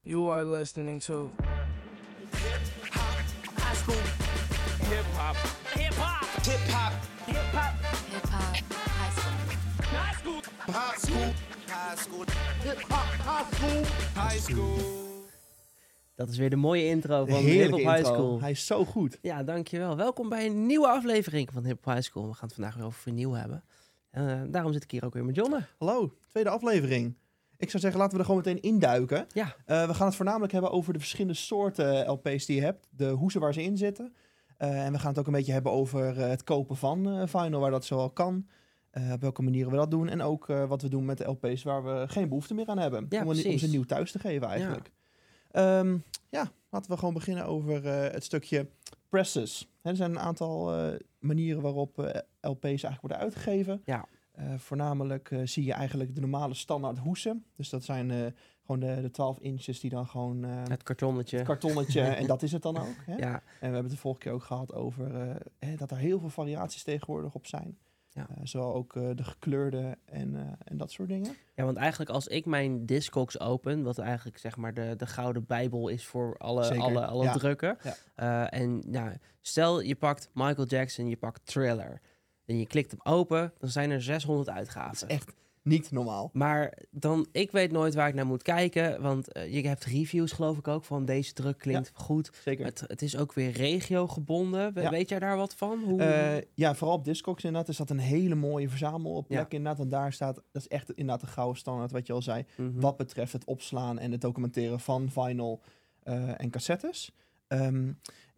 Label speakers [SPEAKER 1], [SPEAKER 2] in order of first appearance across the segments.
[SPEAKER 1] You are listening to
[SPEAKER 2] High school. Hip hop. Hip hop. Hip hop. Hip hop.
[SPEAKER 3] Hip hop high school.
[SPEAKER 2] High school.
[SPEAKER 4] High school. High school.
[SPEAKER 2] Hip hop. High school.
[SPEAKER 4] High school.
[SPEAKER 5] Dat is weer de mooie intro van Hip
[SPEAKER 6] Heerlijke
[SPEAKER 5] Hop High
[SPEAKER 6] intro.
[SPEAKER 5] School.
[SPEAKER 6] Hij is zo goed.
[SPEAKER 5] Ja, dankjewel. Welkom bij een nieuwe aflevering van Hip Hop High School. We gaan het vandaag weer over vernieuw hebben. Eh, daarom zit ik hier ook weer met Jonne.
[SPEAKER 6] Hallo, tweede aflevering. Ik zou zeggen, laten we er gewoon meteen induiken.
[SPEAKER 5] Ja.
[SPEAKER 6] Eh, we gaan het voornamelijk hebben over de verschillende soorten LP's die je hebt. De hoezen waar ze in zitten. Eh, en we gaan het ook een beetje hebben over eh, het kopen van eh, vinyl, waar dat zoal kan. Eh, op welke manieren we dat doen. En ook eh, wat we doen met de LP's waar we geen behoefte meer aan hebben.
[SPEAKER 5] Ja,
[SPEAKER 6] om, een- om
[SPEAKER 5] precies.
[SPEAKER 6] ze nieuw thuis te geven eigenlijk. Ja, ja laten we gewoon beginnen over eh, het stukje presses. Hè, er zijn een aantal eh, manieren waarop eh, LP's eigenlijk worden uitgegeven.
[SPEAKER 5] Ja.
[SPEAKER 6] Eh, voornamelijk eh, zie je eigenlijk de normale standaard hoesen. Dus dat zijn eh, gewoon de, de 12 inches die dan gewoon... eh,
[SPEAKER 5] Het kartonnetje.
[SPEAKER 6] kartonnetje en dat is het dan ook. Hè?
[SPEAKER 5] ja,
[SPEAKER 6] En we hebben het de vorige keer ook gehad over eh, hè, dat er heel veel variaties tegenwoordig op zijn.
[SPEAKER 5] Ja.
[SPEAKER 6] Eh, zowel ook eh, de gekleurde en, eh, en dat soort dingen.
[SPEAKER 5] Ja, want eigenlijk als ik mijn Discogs open, wat eigenlijk zeg maar de, de gouden bijbel is voor alle,
[SPEAKER 6] Zeker,
[SPEAKER 5] alle, alle
[SPEAKER 6] ja.
[SPEAKER 5] drukken.
[SPEAKER 6] Ja.
[SPEAKER 5] Eh, en nou, stel je pakt Michael Jackson, je pakt Thriller. En je klikt hem open, dan zijn er 600 uitgaven.
[SPEAKER 6] Echt niet normaal.
[SPEAKER 5] Maar dan, ik weet nooit waar ik naar moet kijken. Want eh, je hebt reviews, geloof ik ook, van deze druk klinkt goed.
[SPEAKER 6] Zeker.
[SPEAKER 5] Het, het is ook weer regiogebonden. We-
[SPEAKER 6] Ja.
[SPEAKER 5] Weet jij daar wat van? Hoe...
[SPEAKER 6] Eh, ja, vooral op Discogs inderdaad is dat een hele mooie verzamelplek
[SPEAKER 5] Ja.
[SPEAKER 6] inderdaad. Want daar staat, dat is echt inderdaad de gouden standaard wat je al zei.
[SPEAKER 5] Mhm.
[SPEAKER 6] Wat betreft het opslaan en het documenteren van vinyl eh, en cassettes. Ehm,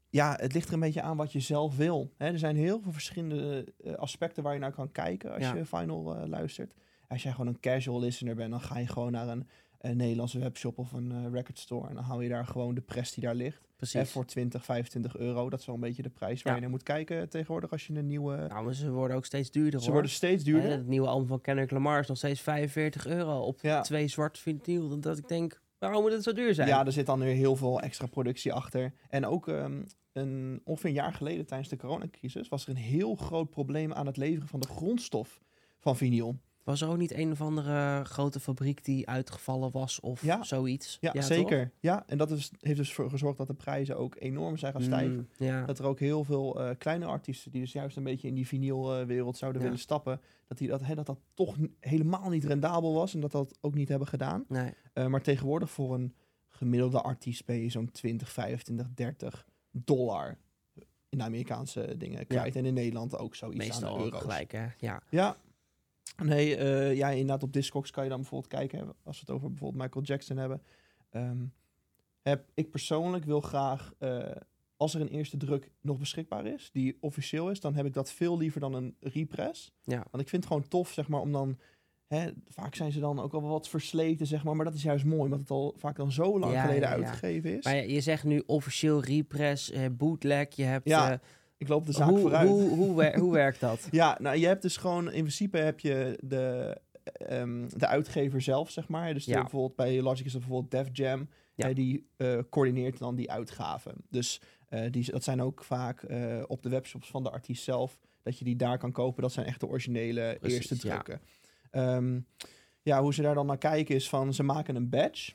[SPEAKER 6] ja, het ligt er een beetje aan wat je zelf wil. Hè, er zijn heel veel verschillende eh, aspecten waar je naar kan kijken als
[SPEAKER 5] Ja.
[SPEAKER 6] je vinyl eh, luistert. Als jij gewoon een casual listener bent, dan ga je gewoon naar een, een Nederlandse webshop of een eh, record store. En dan haal je daar gewoon de press die daar ligt. Hè,
[SPEAKER 5] Precies.
[SPEAKER 6] voor 20, 25 euro. Dat is wel een beetje de prijs waar
[SPEAKER 5] Ja.
[SPEAKER 6] je naar moet kijken tegenwoordig als je een nieuwe...
[SPEAKER 5] Nou, maar ze worden ook steeds duurder.
[SPEAKER 6] ze
[SPEAKER 5] hoor.
[SPEAKER 6] worden steeds
[SPEAKER 5] Hè,
[SPEAKER 6] duurder.
[SPEAKER 5] Het nieuwe album van Kendrick Lamar is nog steeds 45 euro op
[SPEAKER 6] Ja.
[SPEAKER 5] twee zwart vinyl. Dat- Dat ik denk, waarom moet het zo duur zijn?
[SPEAKER 6] Ja, er zit dan weer heel veel extra productie achter. En ook ehm, een, ongeveer een jaar geleden tijdens de coronacrisis was er een heel groot probleem aan het leveren van de grondstof van vinyl.
[SPEAKER 5] Was er ook niet een of andere grote fabriek die uitgevallen was of
[SPEAKER 6] Ja.
[SPEAKER 5] zoiets?
[SPEAKER 6] Ja,
[SPEAKER 5] toch?
[SPEAKER 6] zeker. Ja, en dat is, heeft dus voor gezorgd dat de prijzen ook enorm zijn gaan stijgen.
[SPEAKER 5] Mm, ja.
[SPEAKER 6] Dat er ook heel veel eh, kleine artiesten die dus juist een beetje in die vinylwereld zouden
[SPEAKER 5] Ja.
[SPEAKER 6] willen stappen, dat, die, dat, hè, dat dat toch n- helemaal niet rendabel was en dat dat ook niet hebben gedaan.
[SPEAKER 5] Nee.
[SPEAKER 6] Eh, maar tegenwoordig voor een gemiddelde artiest ben je zo'n 20, 25, 30 dollar in de Amerikaanse dingen kwijt. En in Nederland ook zoiets aan
[SPEAKER 5] Meestal
[SPEAKER 6] de
[SPEAKER 5] ook
[SPEAKER 6] euro's.
[SPEAKER 5] gelijk, hè? Ja.
[SPEAKER 6] Ja. Nee, eh, ja, inderdaad op Discogs kan je dan bijvoorbeeld kijken, hè, als we het over bijvoorbeeld Michael Jackson hebben. Ehm, heb, ik persoonlijk wil graag, eh, als er een eerste druk nog beschikbaar is, die officieel is, dan heb ik dat veel liever dan een repress.
[SPEAKER 5] Ja.
[SPEAKER 6] Want ik vind het gewoon tof, zeg maar, om dan... Hè, vaak zijn ze dan ook al wel wat versleten, zeg maar. Maar dat is juist mooi, omdat het al vaak dan zo lang
[SPEAKER 5] Ja,
[SPEAKER 6] geleden
[SPEAKER 5] ja, ja.
[SPEAKER 6] uitgegeven is.
[SPEAKER 5] Maar ja, je zegt nu officieel repress, eh, bootleg, je hebt...
[SPEAKER 6] Ja,
[SPEAKER 5] eh,
[SPEAKER 6] Ik loop de zaak
[SPEAKER 5] hoe,
[SPEAKER 6] vooruit.
[SPEAKER 5] Hoe, hoe, wer- hoe werkt dat?
[SPEAKER 6] Ja, nou, je hebt dus gewoon, in principe heb je de, ehm, de uitgever zelf, zeg maar. Dus de-
[SPEAKER 5] Ja.
[SPEAKER 6] bijvoorbeeld bij Logic is dat bijvoorbeeld Def Jam.
[SPEAKER 5] Ja.
[SPEAKER 6] Eh, die eh, coördineert dan die uitgaven. Dus eh, die, dat zijn ook vaak eh, op de webshops van de artiest zelf, dat je die daar kan kopen. Dat zijn echt de originele
[SPEAKER 5] Precies,
[SPEAKER 6] eerste
[SPEAKER 5] ja.
[SPEAKER 6] drukken. Ja. ja, hoe ze daar dan naar kijken is van, ze maken een badge.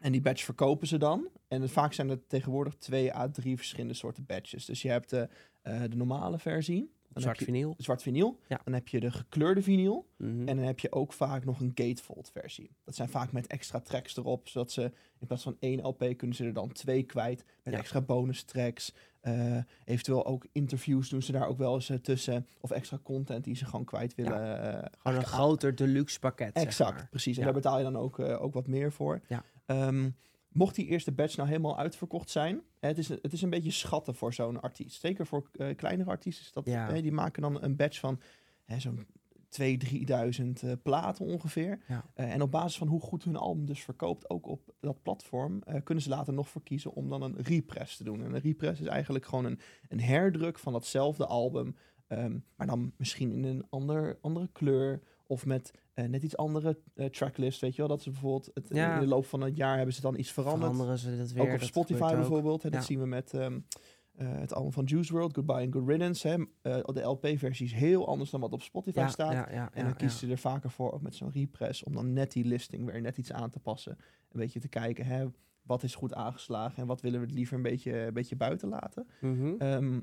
[SPEAKER 6] En die badge verkopen ze dan. En vaak zijn er tegenwoordig twee à drie verschillende soorten badges. Dus je hebt de, eh, de normale versie. Dan heb
[SPEAKER 5] Zwart
[SPEAKER 6] je-
[SPEAKER 5] vinyl.
[SPEAKER 6] zwart vinyl.
[SPEAKER 5] Ja.
[SPEAKER 6] Dan heb je de gekleurde vinyl.
[SPEAKER 5] Mhm.
[SPEAKER 6] En dan heb je ook vaak nog een gatefold versie. Dat zijn vaak met extra tracks erop. Zodat ze in plaats van één LP kunnen ze er dan twee kwijt. Met
[SPEAKER 5] Ja.
[SPEAKER 6] extra bonus tracks. Eh, eventueel ook interviews doen ze daar ook wel eens eh, tussen. Of extra content die ze gewoon kwijt willen. eh,
[SPEAKER 5] Gewoon een groter deluxe pakket, zeg
[SPEAKER 6] Exact,
[SPEAKER 5] maar.
[SPEAKER 6] precies. En
[SPEAKER 5] Ja.
[SPEAKER 6] daar betaal je dan ook, eh, ook wat meer voor.
[SPEAKER 5] Ja.
[SPEAKER 6] Ehm, mocht die eerste batch nou helemaal uitverkocht zijn, hè, het, is, een- het is een beetje schatten voor zo'n artiest. Zeker voor eh, kleinere artiesten. is Dat,
[SPEAKER 5] Ja.
[SPEAKER 6] hè, die maken dan een batch van hè, zo'n 2.000, 3.000 eh, platen ongeveer.
[SPEAKER 5] Ja.
[SPEAKER 6] Eh, en op basis van hoe goed hun album dus verkoopt, ook op dat platform, eh, kunnen ze later nog voor kiezen om dan een repress te doen. En een repress is eigenlijk gewoon een, een herdruk van datzelfde album, ehm, maar dan misschien in een ander, andere kleur of met eh, net iets andere eh, tracklist, weet je wel. Dat ze bijvoorbeeld het,
[SPEAKER 5] Ja.
[SPEAKER 6] in de loop van het jaar hebben ze dan iets veranderd.
[SPEAKER 5] Veranderen ze dat weer.
[SPEAKER 6] Dus Ook op
[SPEAKER 5] dat
[SPEAKER 6] Spotify
[SPEAKER 5] gebeurt ook.
[SPEAKER 6] bijvoorbeeld. Hè, dat
[SPEAKER 5] Ja.
[SPEAKER 6] zien we met ehm, eh, het album van Juice World, Goodbye and Good Riddance. Hè. Eh, de LP-versie is heel anders dan wat op Spotify
[SPEAKER 5] ja,
[SPEAKER 6] staat.
[SPEAKER 5] ja, ja,
[SPEAKER 6] En
[SPEAKER 5] ja,
[SPEAKER 6] dan kiest
[SPEAKER 5] ja.
[SPEAKER 6] ze er vaker voor, ook met zo'n repress, om dan net die listing weer net iets aan te passen. Een beetje te kijken, hè, wat is goed aangeslagen en wat willen we het liever een beetje, een beetje buiten laten.
[SPEAKER 5] Mhm.
[SPEAKER 6] Ehm,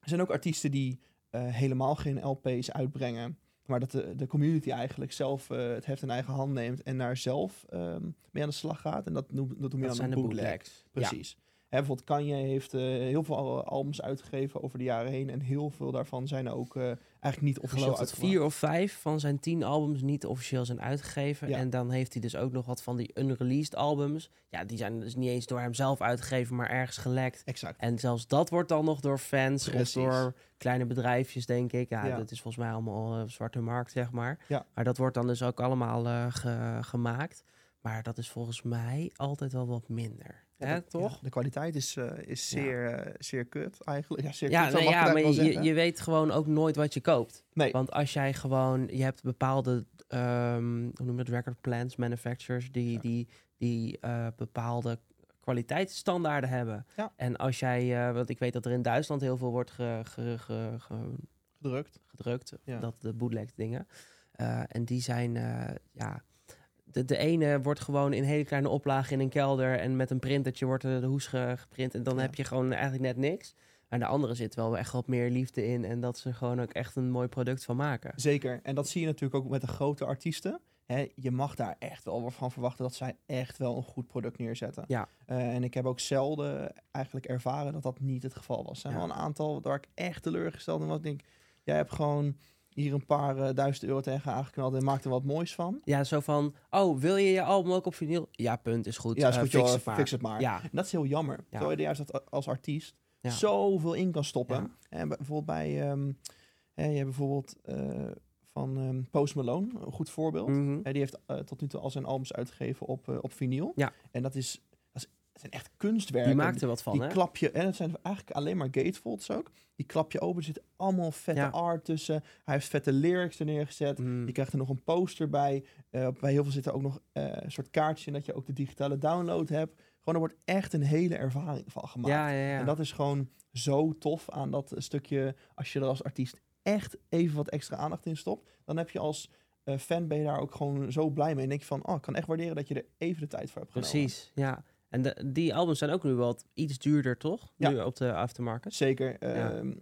[SPEAKER 6] er zijn ook artiesten die eh, helemaal geen LP's uitbrengen, maar dat de, de community eigenlijk zelf eh, het heft in eigen hand neemt en daar zelf ehm, mee aan de slag gaat. En dat noem, dat noem
[SPEAKER 5] dat
[SPEAKER 6] je dan
[SPEAKER 5] zijn
[SPEAKER 6] een
[SPEAKER 5] de
[SPEAKER 6] bootleg.
[SPEAKER 5] bootlegs. Ja.
[SPEAKER 6] Precies. Hè, bijvoorbeeld Kanye heeft eh, heel veel albums uitgegeven over de jaren heen en heel veel daarvan zijn ook eh, eigenlijk niet
[SPEAKER 5] Ik
[SPEAKER 6] officieel
[SPEAKER 5] geloof dat
[SPEAKER 6] uitgebracht.
[SPEAKER 5] vier of vijf van zijn tien albums niet officieel zijn uitgegeven.
[SPEAKER 6] Ja.
[SPEAKER 5] En dan heeft hij dus ook nog wat van die unreleased albums. Ja, die zijn dus niet eens door hemzelf uitgegeven, maar ergens gelekt.
[SPEAKER 6] Exact.
[SPEAKER 5] En zelfs dat wordt dan nog door fans
[SPEAKER 6] Precies.
[SPEAKER 5] of door kleine bedrijfjes, denk ik. Ja,
[SPEAKER 6] Ja.
[SPEAKER 5] dat is volgens mij allemaal eh, zwarte markt, zeg maar.
[SPEAKER 6] Ja.
[SPEAKER 5] Maar dat wordt dan dus ook allemaal eh, ge- gemaakt. Maar dat is volgens mij altijd wel wat minder.
[SPEAKER 6] Ja,
[SPEAKER 5] Hè,
[SPEAKER 6] dat-
[SPEAKER 5] toch?
[SPEAKER 6] ja, de kwaliteit is, eh, is
[SPEAKER 5] Ja.
[SPEAKER 6] zeer, eh, zeer kut eigenlijk. Ja, zeer
[SPEAKER 5] Ja,
[SPEAKER 6] kut, zo
[SPEAKER 5] nou
[SPEAKER 6] mag ik
[SPEAKER 5] ja
[SPEAKER 6] het
[SPEAKER 5] maar
[SPEAKER 6] eigenlijk wel
[SPEAKER 5] je,
[SPEAKER 6] zeggen.
[SPEAKER 5] je weet gewoon ook nooit wat je koopt.
[SPEAKER 6] Nee.
[SPEAKER 5] Want als jij gewoon, je hebt bepaalde, ehm, hoe noem je dat, record plants, manufacturers, die,
[SPEAKER 6] Exact.
[SPEAKER 5] die, die eh, bepaalde kwaliteitsstandaarden hebben.
[SPEAKER 6] Ja.
[SPEAKER 5] En als jij, eh, want ik weet dat er in Duitsland heel veel wordt ge, ge, ge- ge-
[SPEAKER 6] Gedrukt.
[SPEAKER 5] gedrukt,
[SPEAKER 6] Ja.
[SPEAKER 5] dat de bootleg dingen. Eh, en die zijn, eh, ja, de, de ene wordt gewoon in hele kleine oplagen in een kelder en met een printertje wordt er de hoes ge- geprint en dan
[SPEAKER 6] Ja.
[SPEAKER 5] heb je gewoon eigenlijk net niks. En de andere zit wel echt wat meer liefde in en dat ze er gewoon ook echt een mooi product van maken.
[SPEAKER 6] Zeker. En dat zie je natuurlijk ook met de grote artiesten. Hè, je mag daar echt wel van verwachten dat zij echt wel een goed product neerzetten.
[SPEAKER 5] Ja.
[SPEAKER 6] Eh, en ik heb ook zelden eigenlijk ervaren dat dat niet het geval was. Er zijn
[SPEAKER 5] Ja.
[SPEAKER 6] wel een aantal waar ik echt teleurgesteld in was. Ik denk, jij hebt gewoon hier een paar eh, duizend euro tegen aangeknald en maakt er wat moois van.
[SPEAKER 5] Ja, zo van, oh, wil je je album ook op vinyl? Ja, punt, is goed.
[SPEAKER 6] Ja, is
[SPEAKER 5] Eh,
[SPEAKER 6] goed,
[SPEAKER 5] fix
[SPEAKER 6] joh,
[SPEAKER 5] het maar.
[SPEAKER 6] fix het maar.
[SPEAKER 5] Ja,
[SPEAKER 6] En dat is heel jammer. Terwijl je er juist als- als artiest
[SPEAKER 5] ja.
[SPEAKER 6] zoveel in kan stoppen.
[SPEAKER 5] Ja.
[SPEAKER 6] En bij- bijvoorbeeld bij, ehm hè, je hebt bijvoorbeeld eh, van ehm, Post Malone, een goed voorbeeld.
[SPEAKER 5] Mhm.
[SPEAKER 6] Hè, die heeft eh, tot nu toe al zijn albums uitgegeven op, eh, op vinyl.
[SPEAKER 5] Ja.
[SPEAKER 6] En dat is, dat is dat zijn echt kunstwerken.
[SPEAKER 5] Die maakt er wat van,
[SPEAKER 6] Die
[SPEAKER 5] hè?
[SPEAKER 6] klap je, en dat zijn eigenlijk alleen maar gatefolds ook. Die klap je open, er zit allemaal vette
[SPEAKER 5] Ja.
[SPEAKER 6] art tussen. Hij heeft vette lyrics er neergezet.
[SPEAKER 5] Mm.
[SPEAKER 6] Je krijgt er nog een poster bij. Eh, bij heel veel zit er ook nog eh, een soort kaartje in dat je ook de digitale download hebt. Gewoon, er wordt echt een hele ervaring van gemaakt.
[SPEAKER 5] Ja, ja, ja.
[SPEAKER 6] En dat is gewoon zo tof aan dat stukje. Als je er als artiest echt even wat extra aandacht in stopt, dan heb je als eh, fan ben je daar ook gewoon zo blij mee. En denk je van, oh, ik kan echt waarderen dat je er even de tijd voor hebt genomen.
[SPEAKER 5] Precies, ja. En de- die albums zijn ook nu wel iets duurder, toch?
[SPEAKER 6] Ja.
[SPEAKER 5] Nu op de aftermarket.
[SPEAKER 6] Zeker.
[SPEAKER 5] Ja.
[SPEAKER 6] ehm, en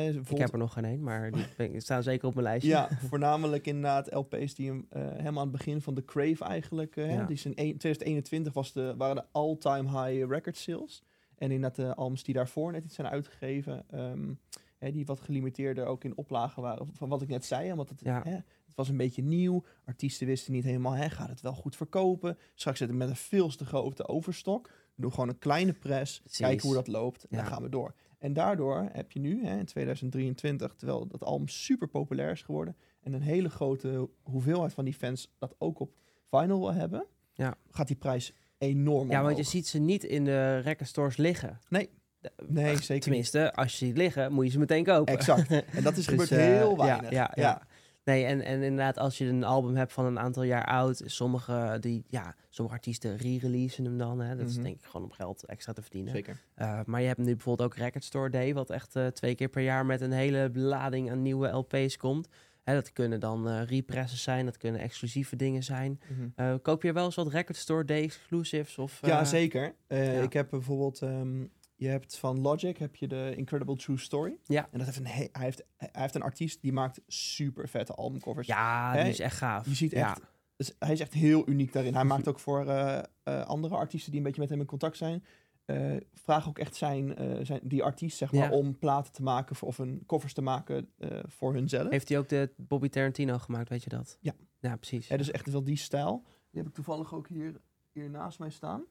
[SPEAKER 5] Ik
[SPEAKER 6] bijvoorbeeld-
[SPEAKER 5] heb er nog geen één, maar die ben- die staan zeker op mijn lijstje.
[SPEAKER 6] Ja, voornamelijk inderdaad LP's die hem, eh, helemaal aan het begin van de Crave eigenlijk. eh, hè,
[SPEAKER 5] Ja.
[SPEAKER 6] die zijn een- 2021 was de, waren de all-time high record sales. En inderdaad de albums die daarvoor net iets zijn uitgegeven. ehm, hè, die wat gelimiteerder ook in oplagen waren. Van wat ik net zei. hè, Want het,
[SPEAKER 5] Ja.
[SPEAKER 6] hè, het was een beetje nieuw. Artiesten wisten niet helemaal, hè, gaat het wel goed verkopen? Straks zitten we met een veel te grote overstok. Doe gewoon een kleine press. Kijken hoe dat loopt. En
[SPEAKER 5] Ja.
[SPEAKER 6] dan gaan we door. En daardoor heb je nu hè, in 2023, terwijl dat album super populair is geworden. En een hele grote hoeveelheid van die fans dat ook op vinyl wil hebben.
[SPEAKER 5] Ja.
[SPEAKER 6] Gaat die prijs enorm
[SPEAKER 5] Ja, want je
[SPEAKER 6] omhoog.
[SPEAKER 5] ziet ze niet in de recordstores liggen.
[SPEAKER 6] Nee.
[SPEAKER 5] De-
[SPEAKER 6] Nee,
[SPEAKER 5] Ach,
[SPEAKER 6] zeker niet.
[SPEAKER 5] Tenminste, als je ziet liggen, moet je ze meteen kopen.
[SPEAKER 6] Exact. En dat is
[SPEAKER 5] Dus,
[SPEAKER 6] gebeurd
[SPEAKER 5] eh,
[SPEAKER 6] heel
[SPEAKER 5] ja,
[SPEAKER 6] weinig.
[SPEAKER 5] ja,
[SPEAKER 6] ja.
[SPEAKER 5] ja. Nee, en, en inderdaad, als je een album hebt van een aantal jaar oud, sommige, die, ja, sommige artiesten re-releasen hem dan. Hè. Dat is
[SPEAKER 6] Mhm.
[SPEAKER 5] denk ik gewoon om geld extra te verdienen.
[SPEAKER 6] zeker.
[SPEAKER 5] Eh, maar je hebt nu bijvoorbeeld ook Record Store Day, wat echt eh, twee keer per jaar met een hele lading aan nieuwe LP's komt. Hè, dat kunnen dan eh represses zijn, dat kunnen exclusieve dingen zijn.
[SPEAKER 6] Mhm.
[SPEAKER 5] Eh, koop je wel eens wat Record Store Day exclusives? Of, eh,
[SPEAKER 6] Ja, zeker. Eh,
[SPEAKER 5] ja.
[SPEAKER 6] Ik heb bijvoorbeeld, ehm, je hebt van Logic heb je de Incredible True Story.
[SPEAKER 5] Ja.
[SPEAKER 6] En dat heeft een he- hij, heeft, hij heeft een artiest die maakt super vette albumcovers.
[SPEAKER 5] Ja, die
[SPEAKER 6] Hè?
[SPEAKER 5] is echt gaaf.
[SPEAKER 6] Je ziet
[SPEAKER 5] Ja.
[SPEAKER 6] echt, dus hij is echt heel uniek daarin.
[SPEAKER 5] Mhm.
[SPEAKER 6] Hij maakt ook voor eh, eh, andere artiesten die een beetje met hem in contact zijn. eh, vraag ook echt zijn, eh, zijn, die artiest zeg maar,
[SPEAKER 5] Ja.
[SPEAKER 6] om platen te maken voor- of een covers te maken eh, voor hunzelf.
[SPEAKER 5] Heeft hij ook de Bobby Tarantino gemaakt, weet je dat?
[SPEAKER 6] Ja.
[SPEAKER 5] Ja, precies.
[SPEAKER 6] Hè, dus echt wel die stijl. Die heb ik toevallig ook hier, hier naast mij staan.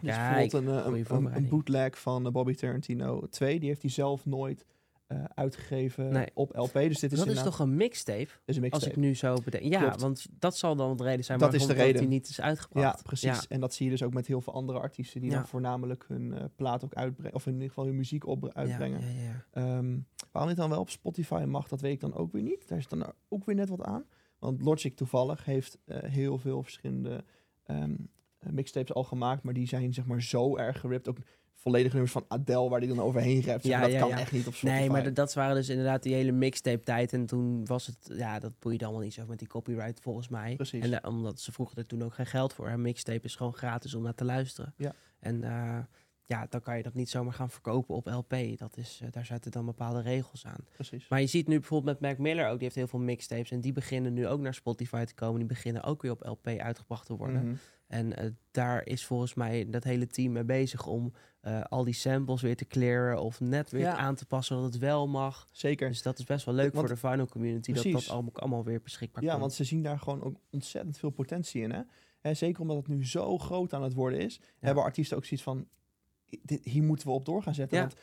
[SPEAKER 6] Dus
[SPEAKER 5] Kijk,
[SPEAKER 6] bijvoorbeeld een, eh,
[SPEAKER 5] goeie
[SPEAKER 6] een- een, een,
[SPEAKER 5] voorbereiding.
[SPEAKER 6] bootleg van eh, Bobby Tarantino 2. Die heeft hij zelf nooit eh, uitgegeven
[SPEAKER 5] Nee.
[SPEAKER 6] op LP. Dus dit is,
[SPEAKER 5] dat is
[SPEAKER 6] inderdaad-
[SPEAKER 5] toch een mixtape?
[SPEAKER 6] dit is een
[SPEAKER 5] Als
[SPEAKER 6] mixtape.
[SPEAKER 5] ik nu zo bedenk. Ja,
[SPEAKER 6] Klopt.
[SPEAKER 5] want dat zal dan de reden zijn
[SPEAKER 6] Dat is
[SPEAKER 5] waarom
[SPEAKER 6] de
[SPEAKER 5] dat
[SPEAKER 6] reden.
[SPEAKER 5] die niet is uitgebracht.
[SPEAKER 6] Ja, precies. En dat zie je dus ook met heel veel andere artiesten die
[SPEAKER 5] Ja.
[SPEAKER 6] dan voornamelijk hun eh, plaat ook uitbrengen. Of in ieder geval hun muziek op eh, uitbrengen.
[SPEAKER 5] Ja, ja, ja.
[SPEAKER 6] Ehm, waarom dit dan wel op Spotify mag, dat weet ik dan ook weer niet. Daar is dan ook weer net wat aan. Want Logic toevallig heeft eh, heel veel verschillende ehm, eh, eh, mixtapes al gemaakt, maar die zijn zeg maar zo erg geript. Ook volledige nummers van Adele, waar die dan overheen rapt. Zeg
[SPEAKER 5] Ja,
[SPEAKER 6] maar, dat
[SPEAKER 5] ja,
[SPEAKER 6] kan
[SPEAKER 5] ja.
[SPEAKER 6] echt niet op Spotify.
[SPEAKER 5] Nee, maar dat- dat waren dus inderdaad die hele mixtape tijd. En toen was het, ja, dat boeide allemaal niet zo met die copyright volgens mij.
[SPEAKER 6] Precies.
[SPEAKER 5] En eh, omdat ze vroegen er toen ook geen geld voor. En mixtape is gewoon gratis om naar te luisteren.
[SPEAKER 6] Ja.
[SPEAKER 5] En eh, ja, dan kan je dat niet zomaar gaan verkopen op LP. Dat is, eh, daar zitten dan bepaalde regels aan.
[SPEAKER 6] Preeft
[SPEAKER 5] Maar je ziet nu bijvoorbeeld met Mac Miller ook, die heeft heel veel mixtapes. En die beginnen nu ook naar Spotify te komen. Die beginnen ook weer op LP uitgebracht te
[SPEAKER 6] Mhm.
[SPEAKER 5] worden. En eh, daar is volgens mij dat hele team mee bezig om eh, al die samples weer te clearen of net weer
[SPEAKER 6] Ja.
[SPEAKER 5] aan te passen dat het wel mag.
[SPEAKER 6] Zeker.
[SPEAKER 5] Dus dat is best wel leuk
[SPEAKER 6] Want-
[SPEAKER 5] voor de vinyl community dat
[SPEAKER 6] Precies.
[SPEAKER 5] dat allemaal, allemaal weer beschikbaar
[SPEAKER 6] Ja,
[SPEAKER 5] komt.
[SPEAKER 6] want ze zien daar gewoon ook ontzettend veel potentie in. Hè? Hè, zeker omdat het nu zo groot aan het worden is, hebben artiesten ook zoiets van: "I- dit, hier moeten we op door gaan zetten.
[SPEAKER 5] Ja.
[SPEAKER 6] Want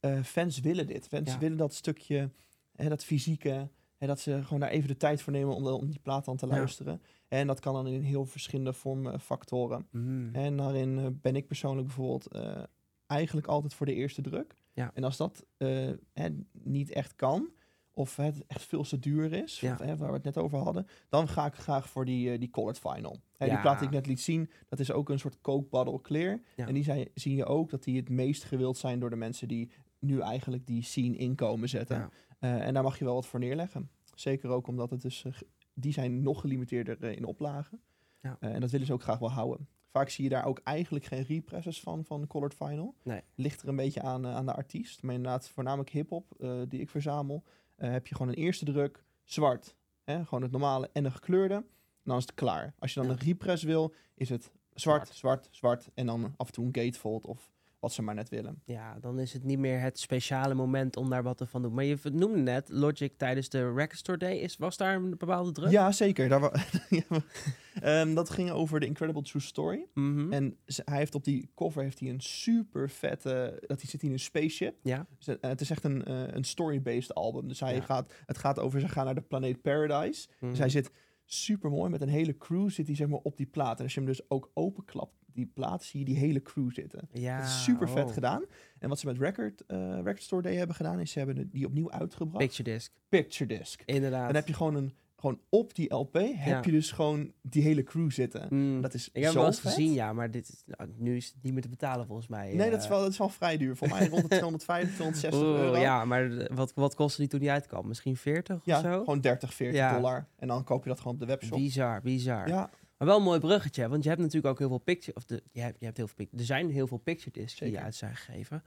[SPEAKER 6] eh, fans willen dit. Fans
[SPEAKER 5] Ja.
[SPEAKER 6] willen dat stukje, hè, dat fysieke. Hè, dat ze gewoon daar even de tijd voor nemen om, om die plaat dan te
[SPEAKER 5] Ja.
[SPEAKER 6] luisteren. En dat kan dan in heel verschillende vormen, factoren.
[SPEAKER 5] Mm.
[SPEAKER 6] En daarin eh, ben ik persoonlijk bijvoorbeeld eh, eigenlijk altijd voor de eerste druk.
[SPEAKER 5] Ja.
[SPEAKER 6] En als dat eh, hè, niet echt kan, of het echt veel te duur is,
[SPEAKER 5] Ja.
[SPEAKER 6] of, hè, waar we het net over hadden, dan ga ik graag voor die, eh, die colored final. Hè, Die
[SPEAKER 5] Ja.
[SPEAKER 6] plaat die ik net liet zien, dat is ook een soort Coke Bottle Clear.
[SPEAKER 5] Ja.
[SPEAKER 6] En die zijn, zie je ook dat die het meest gewild zijn door de mensen die nu eigenlijk die scene inkomen zetten.
[SPEAKER 5] Ja.
[SPEAKER 6] Eh, en daar mag je wel wat voor neerleggen. Zeker ook omdat het dus, eh, ge- die zijn nog gelimiteerder eh, in oplagen.
[SPEAKER 5] Ja.
[SPEAKER 6] Eh, en dat willen ze ook graag wel houden. Vaak zie je daar ook eigenlijk geen represses van, van de Colored Final.
[SPEAKER 5] Nee.
[SPEAKER 6] Ligt er een beetje aan, eh, aan de artiest. Maar inderdaad, voornamelijk hip-hop eh, die ik verzamel, eh, heb je gewoon een eerste druk, zwart. Hè? Gewoon het normale en een gekleurde. En dan is het klaar. Als je dan
[SPEAKER 5] Ja.
[SPEAKER 6] een repress wil, is het zwart, zwart, zwart. En dan af en toe een gatefold of wat ze maar net willen.
[SPEAKER 5] Ja, dan is het niet meer het speciale moment om daar wat te van doen. Maar je v- noemde net, Logic tijdens de Record Store Day, is, was daar een bepaalde druk?
[SPEAKER 6] Ja, zeker. Daar wa- Ja, maar- Ehm, dat ging over de Incredible True Story.
[SPEAKER 5] Mhm.
[SPEAKER 6] En ze- hij heeft op die cover heeft hij een super vette. Dat hij zit in een spaceship.
[SPEAKER 5] ja.
[SPEAKER 6] Dus, eh, het is echt een, eh, een story-based album. Dus hij
[SPEAKER 5] Ja.
[SPEAKER 6] gaat, het gaat over ze gaan naar de planeet Paradise.
[SPEAKER 5] Mhm.
[SPEAKER 6] Dus hij zit super mooi met een hele crew zit hij zeg maar op die plaat. En als je hem dus ook openklapt, die plaat, zie je die hele crew zitten.
[SPEAKER 5] ja.
[SPEAKER 6] dat is super vet
[SPEAKER 5] oh.
[SPEAKER 6] gedaan. En wat ze met Record, eh, record Store Day hebben gedaan, is ze hebben die opnieuw uitgebracht.
[SPEAKER 5] Picture disc,
[SPEAKER 6] Picture Disc.
[SPEAKER 5] inderdaad.
[SPEAKER 6] Dan heb je gewoon een, gewoon op die LP heb je dus gewoon die hele crew zitten.
[SPEAKER 5] Mm.
[SPEAKER 6] Dat is
[SPEAKER 5] Ik heb
[SPEAKER 6] zo
[SPEAKER 5] hem wel eens
[SPEAKER 6] vet.
[SPEAKER 5] gezien, ja, maar dit is, nou, nu is het niet meer te betalen volgens mij.
[SPEAKER 6] Nee,
[SPEAKER 5] eh.
[SPEAKER 6] dat is, wel, dat is wel vrij duur. Voor mij rond de 250, 260
[SPEAKER 5] Oeh,
[SPEAKER 6] euro.
[SPEAKER 5] Ja, maar d- wat, wat kostte die toen die uitkwam? Misschien 40
[SPEAKER 6] Ja,
[SPEAKER 5] of zo?
[SPEAKER 6] gewoon 30, 40
[SPEAKER 5] Ja.
[SPEAKER 6] dollar. En dan koop je dat gewoon op de webshop.
[SPEAKER 5] Bizar, bizar.
[SPEAKER 6] Ja,
[SPEAKER 5] Maar wel een mooi bruggetje, want je hebt natuurlijk ook heel veel picture... Of de, je hebt, je hebt heel veel pic- er zijn heel veel picture discs die
[SPEAKER 6] Zeker.
[SPEAKER 5] uit zijn gegeven.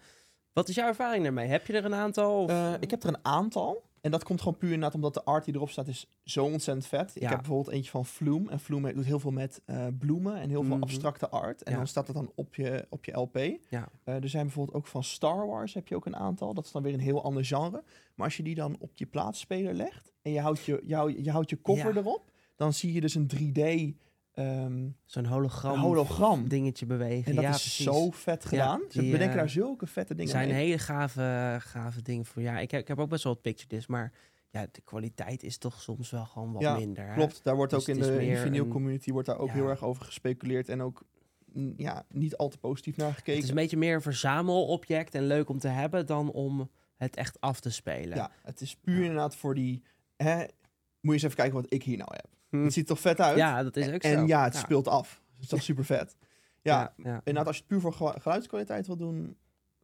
[SPEAKER 5] Wat is jouw ervaring daarmee? Heb je er een aantal? Of...
[SPEAKER 6] eh, ik heb er een aantal. En dat komt gewoon puur inderdaad omdat de art die erop staat is zo ontzettend vet. Ik
[SPEAKER 5] Ja.
[SPEAKER 6] heb bijvoorbeeld eentje van Vloem. En Vloem doet heel veel met eh, bloemen en heel veel
[SPEAKER 5] Mhm.
[SPEAKER 6] abstracte art. En
[SPEAKER 5] Ja.
[SPEAKER 6] dan staat dat dan op je, op je LP.
[SPEAKER 5] Ja.
[SPEAKER 6] Eh, er zijn bijvoorbeeld ook van Star Wars heb je ook een aantal. Dat is dan weer een heel ander genre. Maar als je die dan op je plaatsspeler legt en je houdt je, je, houdt, je houdt je cover
[SPEAKER 5] Ja.
[SPEAKER 6] erop, dan zie je dus een 3D ehm,
[SPEAKER 5] Zo'n hologram,
[SPEAKER 6] hologram.
[SPEAKER 5] dingetje bewegen.
[SPEAKER 6] En dat
[SPEAKER 5] ja,
[SPEAKER 6] is
[SPEAKER 5] precies.
[SPEAKER 6] zo vet gedaan. Ze
[SPEAKER 5] die,
[SPEAKER 6] bedenken
[SPEAKER 5] eh,
[SPEAKER 6] daar zulke vette dingen
[SPEAKER 5] zijn
[SPEAKER 6] mee.
[SPEAKER 5] hele gave, gave dingen voor. Ja, ik heb, ik heb ook best wel wat picture discs, maar ja, de kwaliteit is toch soms wel gewoon wat
[SPEAKER 6] Ja,
[SPEAKER 5] minder. hè?
[SPEAKER 6] Klopt, daar wordt
[SPEAKER 5] Dus
[SPEAKER 6] ook in
[SPEAKER 5] het is
[SPEAKER 6] de, in de
[SPEAKER 5] meer
[SPEAKER 6] vinyl
[SPEAKER 5] een-
[SPEAKER 6] community wordt daar ook
[SPEAKER 5] ja.
[SPEAKER 6] heel erg over gespeculeerd. En ook mm, ja, niet al te positief naar gekeken.
[SPEAKER 5] Het is een beetje meer een verzamelobject en leuk om te hebben dan om het echt af te spelen.
[SPEAKER 6] ja, het is puur inderdaad voor die... Hè, moet je eens even kijken wat ik hier nou heb.
[SPEAKER 5] Hm.
[SPEAKER 6] Het ziet er toch vet uit?
[SPEAKER 5] Ja, dat is ook zo.
[SPEAKER 6] en ja, het speelt af. Het is toch super vet. Ja,
[SPEAKER 5] ja, ja.
[SPEAKER 6] inderdaad, als je het puur voor gewa- geluidskwaliteit wil doen...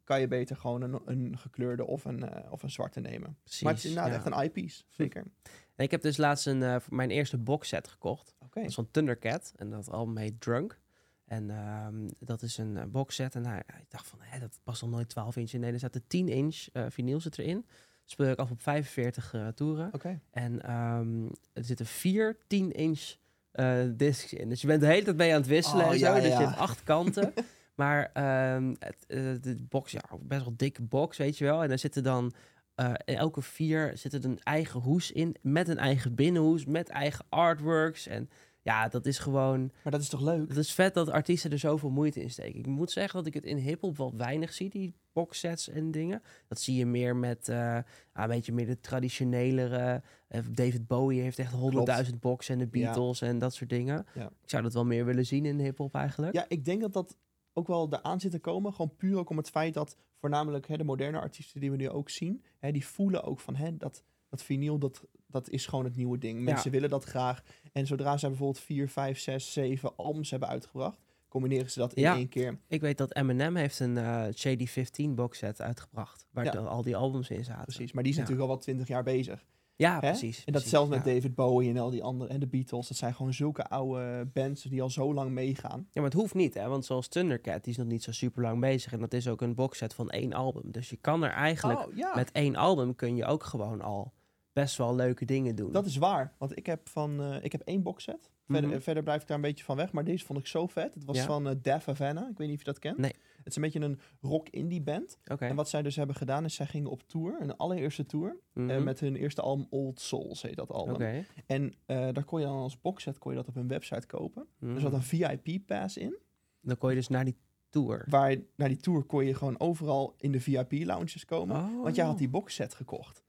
[SPEAKER 6] kan je beter gewoon een, een gekleurde of een, eh, of een zwarte nemen.
[SPEAKER 5] precies.
[SPEAKER 6] maar het is inderdaad
[SPEAKER 5] ja.
[SPEAKER 6] echt een eyepiece, zeker.
[SPEAKER 5] En ik heb dus laatst een, eh, voor mijn eerste boxset gekocht.
[SPEAKER 6] Oké.
[SPEAKER 5] Dat is van Thundercat. En dat album heet Drunk. En ehm, dat is een eh, boxset. En hij, ik dacht van, hè, dat past nog nooit 12 inch in. Nee, er zaten 10 inch eh vinyl zit erin. Speel ik af op 45 eh, toeren.
[SPEAKER 6] Oké.
[SPEAKER 5] En ehm, er zitten vier 10 inch eh, discs in. Dus je bent de hele tijd mee aan het wisselen
[SPEAKER 6] Oh,
[SPEAKER 5] en zo.
[SPEAKER 6] ja,
[SPEAKER 5] Dus
[SPEAKER 6] ja.
[SPEAKER 5] je hebt acht kanten. maar ehm, het, eh, de box, ja, best wel dikke box, weet je wel. En daar zitten dan eh, in elke vier zit er een eigen hoes in. Met een eigen binnenhoes, met eigen artworks. En ja, dat is gewoon...
[SPEAKER 6] Maar dat is toch leuk?
[SPEAKER 5] Het is vet dat artiesten er zoveel moeite in steken. Ik moet zeggen dat ik het in hiphop wel weinig zie, die boxsets en dingen. Dat zie je meer met eh, ja, een beetje meer de traditionelere. eh, David Bowie heeft echt 100.000 boxen en de
[SPEAKER 6] Ja.
[SPEAKER 5] Beatles en dat soort dingen.
[SPEAKER 6] Ja.
[SPEAKER 5] Ik zou dat wel meer willen zien in hiphop eigenlijk.
[SPEAKER 6] Ja, ik denk dat dat ook wel eraan zit te komen. Gewoon puur ook om het feit dat voornamelijk hè, de moderne artiesten die we nu ook zien, hè, die voelen ook van hè, dat, dat vinyl, dat, dat is gewoon het nieuwe ding. Mensen willen dat graag. En zodra zij bijvoorbeeld 4, 5, 6, 7 albums hebben uitgebracht, combineren ze dat in
[SPEAKER 5] Ja.
[SPEAKER 6] één keer.
[SPEAKER 5] Ik weet dat Eminem heeft een eh Shady 15 box set uitgebracht. Waar
[SPEAKER 6] Ja.
[SPEAKER 5] dan al die albums in zaten.
[SPEAKER 6] Precies. Maar die is
[SPEAKER 5] Ja.
[SPEAKER 6] natuurlijk al wel twintig jaar bezig.
[SPEAKER 5] Ja,
[SPEAKER 6] Hè?
[SPEAKER 5] precies.
[SPEAKER 6] En dat
[SPEAKER 5] precies,
[SPEAKER 6] zelfs met
[SPEAKER 5] ja.
[SPEAKER 6] David Bowie en al die anderen. En de Beatles. Dat zijn gewoon zulke oude bands die al zo lang meegaan.
[SPEAKER 5] Ja, maar het hoeft niet, hè? Want zoals Thundercat, die is nog niet zo super lang bezig. En dat is ook een boxset van één album. Dus je kan er eigenlijk
[SPEAKER 6] Oh, ja.
[SPEAKER 5] met één album kun je ook gewoon al best wel leuke dingen doen.
[SPEAKER 6] Dat is waar. Want ik heb, van, eh, ik heb één boxset. Verder,
[SPEAKER 5] Mhm.
[SPEAKER 6] verder blijf ik daar een beetje van weg. Maar deze vond ik zo vet. Het was
[SPEAKER 5] Ja.
[SPEAKER 6] van eh Def Havana. Ik weet niet of je dat kent.
[SPEAKER 5] Nee.
[SPEAKER 6] Het is een beetje een rock-indie band.
[SPEAKER 5] Oké.
[SPEAKER 6] En wat zij dus hebben gedaan is zij gingen op tour. Een allereerste tour.
[SPEAKER 5] Mhm.
[SPEAKER 6] eh, met hun eerste album Old Souls heet dat album.
[SPEAKER 5] Oké.
[SPEAKER 6] En eh, daar kon je dan als boxset kon je dat op hun website kopen.
[SPEAKER 5] Mhm.
[SPEAKER 6] Er zat Dus een VIP-pass in.
[SPEAKER 5] Dan kon je dus naar die tour.
[SPEAKER 6] Waar je- naar die tour kon je gewoon overal in de VIP-lounges komen.
[SPEAKER 5] Oh.
[SPEAKER 6] Want jij had die boxset gekocht.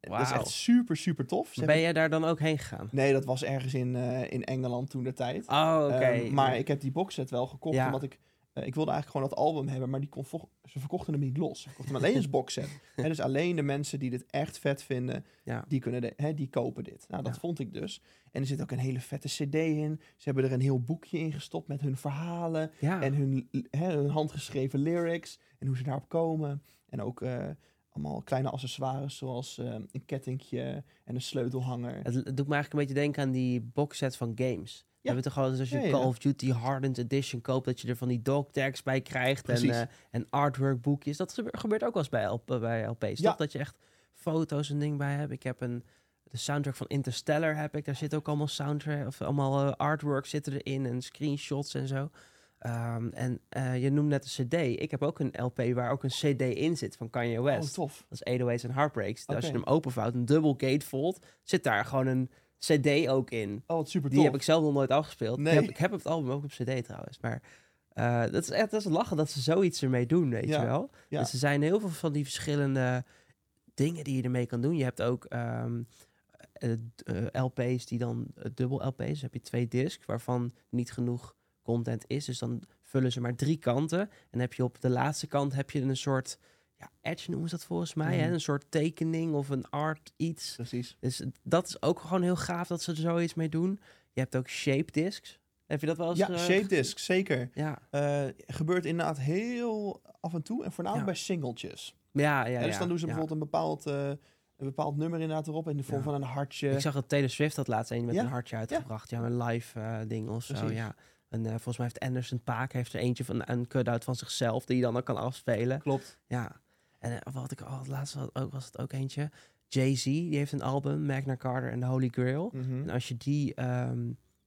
[SPEAKER 6] Dat is
[SPEAKER 5] Wauw.
[SPEAKER 6] echt super, super tof. Ze
[SPEAKER 5] Ben
[SPEAKER 6] hebben-
[SPEAKER 5] jij daar dan ook heen gegaan?
[SPEAKER 6] Nee, dat was ergens in, eh, in Engeland toen de tijd.
[SPEAKER 5] Oh, oké.
[SPEAKER 6] Ehm, maar ik heb die boxset wel gekocht,
[SPEAKER 5] Ja.
[SPEAKER 6] omdat ik... eh, ik wilde eigenlijk gewoon dat album hebben, maar die kon vo- ze verkochten hem niet los. Ze verkochten hem alleen als boxset. Hè, dus alleen de mensen die dit echt vet vinden,
[SPEAKER 5] Ja.
[SPEAKER 6] die, kunnen de, hè, die kopen dit. Nou, dat
[SPEAKER 5] Ja.
[SPEAKER 6] vond ik dus. En er zit ook een hele vette cd in. Ze hebben er een heel boekje in gestopt met hun verhalen
[SPEAKER 5] ja.
[SPEAKER 6] en hun, hè, hun handgeschreven lyrics en hoe ze daarop komen. En ook eh, allemaal kleine accessoires zoals eh, een kettingje en een sleutelhanger.
[SPEAKER 5] Het het doet me eigenlijk een beetje denken aan die boxset van games. We hebben toch altijd als je
[SPEAKER 6] Ja, ja,
[SPEAKER 5] Call
[SPEAKER 6] ja.
[SPEAKER 5] of Duty Hardened Edition koopt, dat je er van die dog tags bij krijgt en,
[SPEAKER 6] Precies.
[SPEAKER 5] eh, en artwork boekjes. Dat gebe- gebeurt ook wel eens bij, LP, bij LP's.
[SPEAKER 6] Ja.
[SPEAKER 5] Toch dat je echt foto's en ding bij hebt. Ik heb een de soundtrack van Interstellar heb ik. Daar zit ook allemaal soundtrack of allemaal eh, artwork zitten erin en screenshots en zo. Ehm, en eh, je noemt net een CD. Ik heb ook een LP waar ook een CD in zit van Kanye
[SPEAKER 6] Oh,
[SPEAKER 5] West.
[SPEAKER 6] tof.
[SPEAKER 5] Dat is 808's en Heartbreaks. Als je
[SPEAKER 6] Oké.
[SPEAKER 5] hem openvouwt, een dubbel gatefold, zit daar gewoon een CD ook in.
[SPEAKER 6] Oh, wat super
[SPEAKER 5] Die
[SPEAKER 6] tof.
[SPEAKER 5] heb ik zelf nog nooit afgespeeld. Ik
[SPEAKER 6] Nee.
[SPEAKER 5] heb- ik heb het album ook op CD trouwens. Maar eh, dat is echt dat is lachen dat ze zoiets ermee doen, weet
[SPEAKER 6] Ja,
[SPEAKER 5] je wel.
[SPEAKER 6] ja.
[SPEAKER 5] Dus er zijn heel veel van die verschillende dingen die je ermee kan doen. Je hebt ook ehm, eh, d- eh, LP's die dan eh, dubbel LP's. Dus heb je twee discs waarvan niet genoeg content is. Dus dan vullen ze maar drie kanten. En heb je op de laatste kant heb je een soort ja, edge noemen ze dat volgens mij. Hè?
[SPEAKER 6] Mhm.
[SPEAKER 5] Een soort tekening of een art iets.
[SPEAKER 6] Precies.
[SPEAKER 5] Dus het- dat is ook gewoon heel gaaf dat ze er zoiets mee doen. Je hebt ook shape discs. Heb je dat wel eens?
[SPEAKER 6] Ja,
[SPEAKER 5] eh,
[SPEAKER 6] shape disc, zeker.
[SPEAKER 5] Ja,
[SPEAKER 6] Eh, gebeurt inderdaad heel af en toe. En voornamelijk
[SPEAKER 5] Ja.
[SPEAKER 6] bij singeltjes.
[SPEAKER 5] ja, ja.
[SPEAKER 6] Hè, dus
[SPEAKER 5] ja,
[SPEAKER 6] dan doen ze
[SPEAKER 5] ja.
[SPEAKER 6] bijvoorbeeld een bepaald, eh, een bepaald nummer inderdaad erop in de vorm
[SPEAKER 5] Ja.
[SPEAKER 6] van een hartje.
[SPEAKER 5] Ik zag dat Taylor Swift had laatst een met
[SPEAKER 6] eh, Ja,
[SPEAKER 5] een hartje uitgebracht. Ja, een live eh, ding of zo.
[SPEAKER 6] Precies.
[SPEAKER 5] Ja. En eh, volgens mij heeft Anderson Paak heeft er eentje van een cut-out van zichzelf die je dan ook kan afspelen.
[SPEAKER 6] Klopt.
[SPEAKER 5] Ja. En eh, wat ik al laatst had, ook, was het ook eentje. Jay-Z, die heeft een album, Magna Carta en The Holy Grail.
[SPEAKER 6] Mhm.
[SPEAKER 5] En als je die, ehm,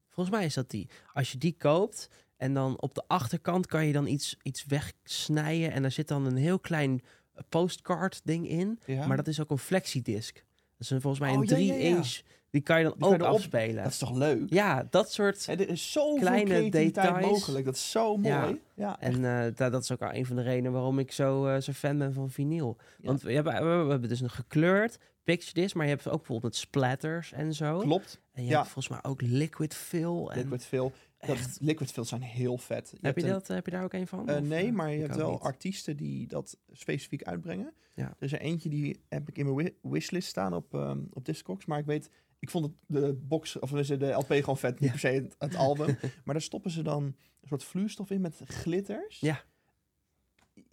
[SPEAKER 5] volgens mij is dat die. Als je die koopt en dan op de achterkant kan je dan iets, iets wegsnijden. En daar zit dan een heel klein eh, postcard ding in.
[SPEAKER 6] Ja.
[SPEAKER 5] Nou, Maar dat is ook een flexidisc. Dat is een, volgens mij
[SPEAKER 6] Oh,
[SPEAKER 5] een
[SPEAKER 6] ja,
[SPEAKER 5] 3
[SPEAKER 6] ja, ja.
[SPEAKER 5] inch. Die kan je dan
[SPEAKER 6] Die kan
[SPEAKER 5] ook
[SPEAKER 6] je erop-
[SPEAKER 5] afspelen.
[SPEAKER 6] Dat is toch leuk?
[SPEAKER 5] Ja, dat soort.
[SPEAKER 6] Hè, er is zoveel
[SPEAKER 5] Kleine
[SPEAKER 6] creativiteit
[SPEAKER 5] details.
[SPEAKER 6] mogelijk. Dat is zo mooi.
[SPEAKER 5] Ja.
[SPEAKER 6] Ja.
[SPEAKER 5] En eh, da- dat is ook al een van de redenen waarom ik zo, eh, zo fan ben van vinyl.
[SPEAKER 6] Ja.
[SPEAKER 5] Want we hebben, we hebben dus een gekleurd picture disc, maar je hebt ook bijvoorbeeld met splatters en zo.
[SPEAKER 6] klopt.
[SPEAKER 5] En je
[SPEAKER 6] ja.
[SPEAKER 5] hebt volgens mij ook liquid fill. En
[SPEAKER 6] Liquid Fill. Dat, liquid Fill zijn heel vet.
[SPEAKER 5] heb,
[SPEAKER 6] hebt
[SPEAKER 5] je
[SPEAKER 6] een-
[SPEAKER 5] dat, heb je daar ook een van?
[SPEAKER 6] eh,
[SPEAKER 5] Of,
[SPEAKER 6] nee,
[SPEAKER 5] eh,
[SPEAKER 6] maar je
[SPEAKER 5] ik
[SPEAKER 6] hebt
[SPEAKER 5] ook
[SPEAKER 6] wel
[SPEAKER 5] niet.
[SPEAKER 6] artiesten die dat specifiek uitbrengen.
[SPEAKER 5] Ja.
[SPEAKER 6] Er is er eentje die heb ik in mijn wi- wishlist staan op, ehm, op Discogs. Maar ik weet, ik vond het, de box, of tenminste, de LP gewoon vet. Niet
[SPEAKER 5] Ja.
[SPEAKER 6] per se het, het album. maar daar stoppen ze dan een soort vloeistof in met glitters.
[SPEAKER 5] Ja.